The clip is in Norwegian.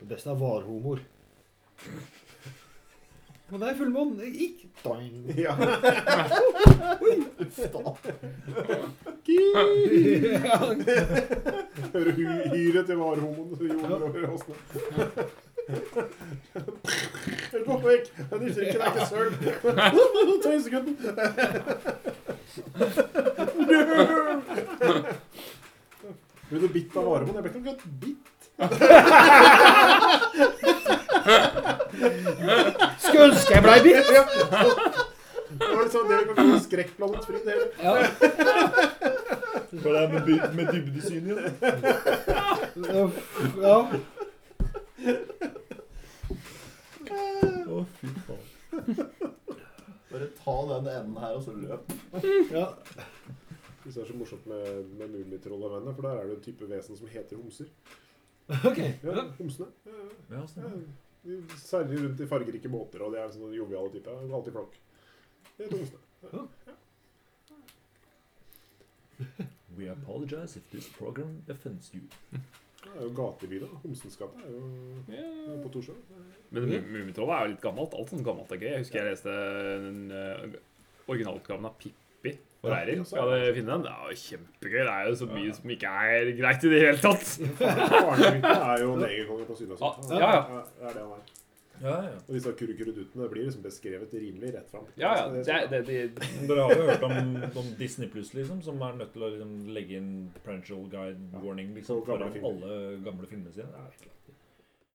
Det beste er varhomoer. Men det er fullmåne. Ikke Doing. Ja. Hører hu- hyret til varhomoen som gjorde over åsene. Gå vekk! Den kirken er ikke sølv. Tøysegutten. Ble du bitt av varemoen? Jeg ble ikke noe godt bitt. Skulle ønske jeg blei bitt! Ja. Det var liksom det var ikke skrekkblandet fryd. det hele. Ja. For det er med, by- med dybdesyn i det. Uff, ja. Å, fy faen. Bare ta den enden her, og så løp. ja. Det er så morsomt med, med Mummitroll-vennene, for der er det en type vesen som heter homser. Ok. Ja, homsene. Ja, ja, Ja, sånn. ja. De seiler rundt i fargerike båter, og de er sånne joviale typer. Ja, Alltid flokk. Det heter homsene. We apologize if this program offends you. Det er jo gateby, da. Homsens gate er jo Ja. er på Torshov. Men Mu- Mummitrollet er jo litt gammelt. Alt sånn gammelt er gøy. Jeg husker jeg leste den eh, originalutgaven av Pippi for Ja, Eirin. ja, så Skal er jeg finne den? Det er jo kjempegøy. Det er jo så mye som ikke er greit i det hele tatt. Barnegutten er jo negerkonge på Syden. Ah, ja, ja. Det er det han er. Ja, ja. Og disse kurrekurredutene det blir liksom beskrevet rimelig rett fram. Ja, ja. Det, er- det, det, Men Dere har jo hørt om, om Disney Pluss, liksom, som er nødt til å liksom, legge inn parental guide warning liksom, På gamle foran filmer. alle gamle filmene sine. Det er helt klart.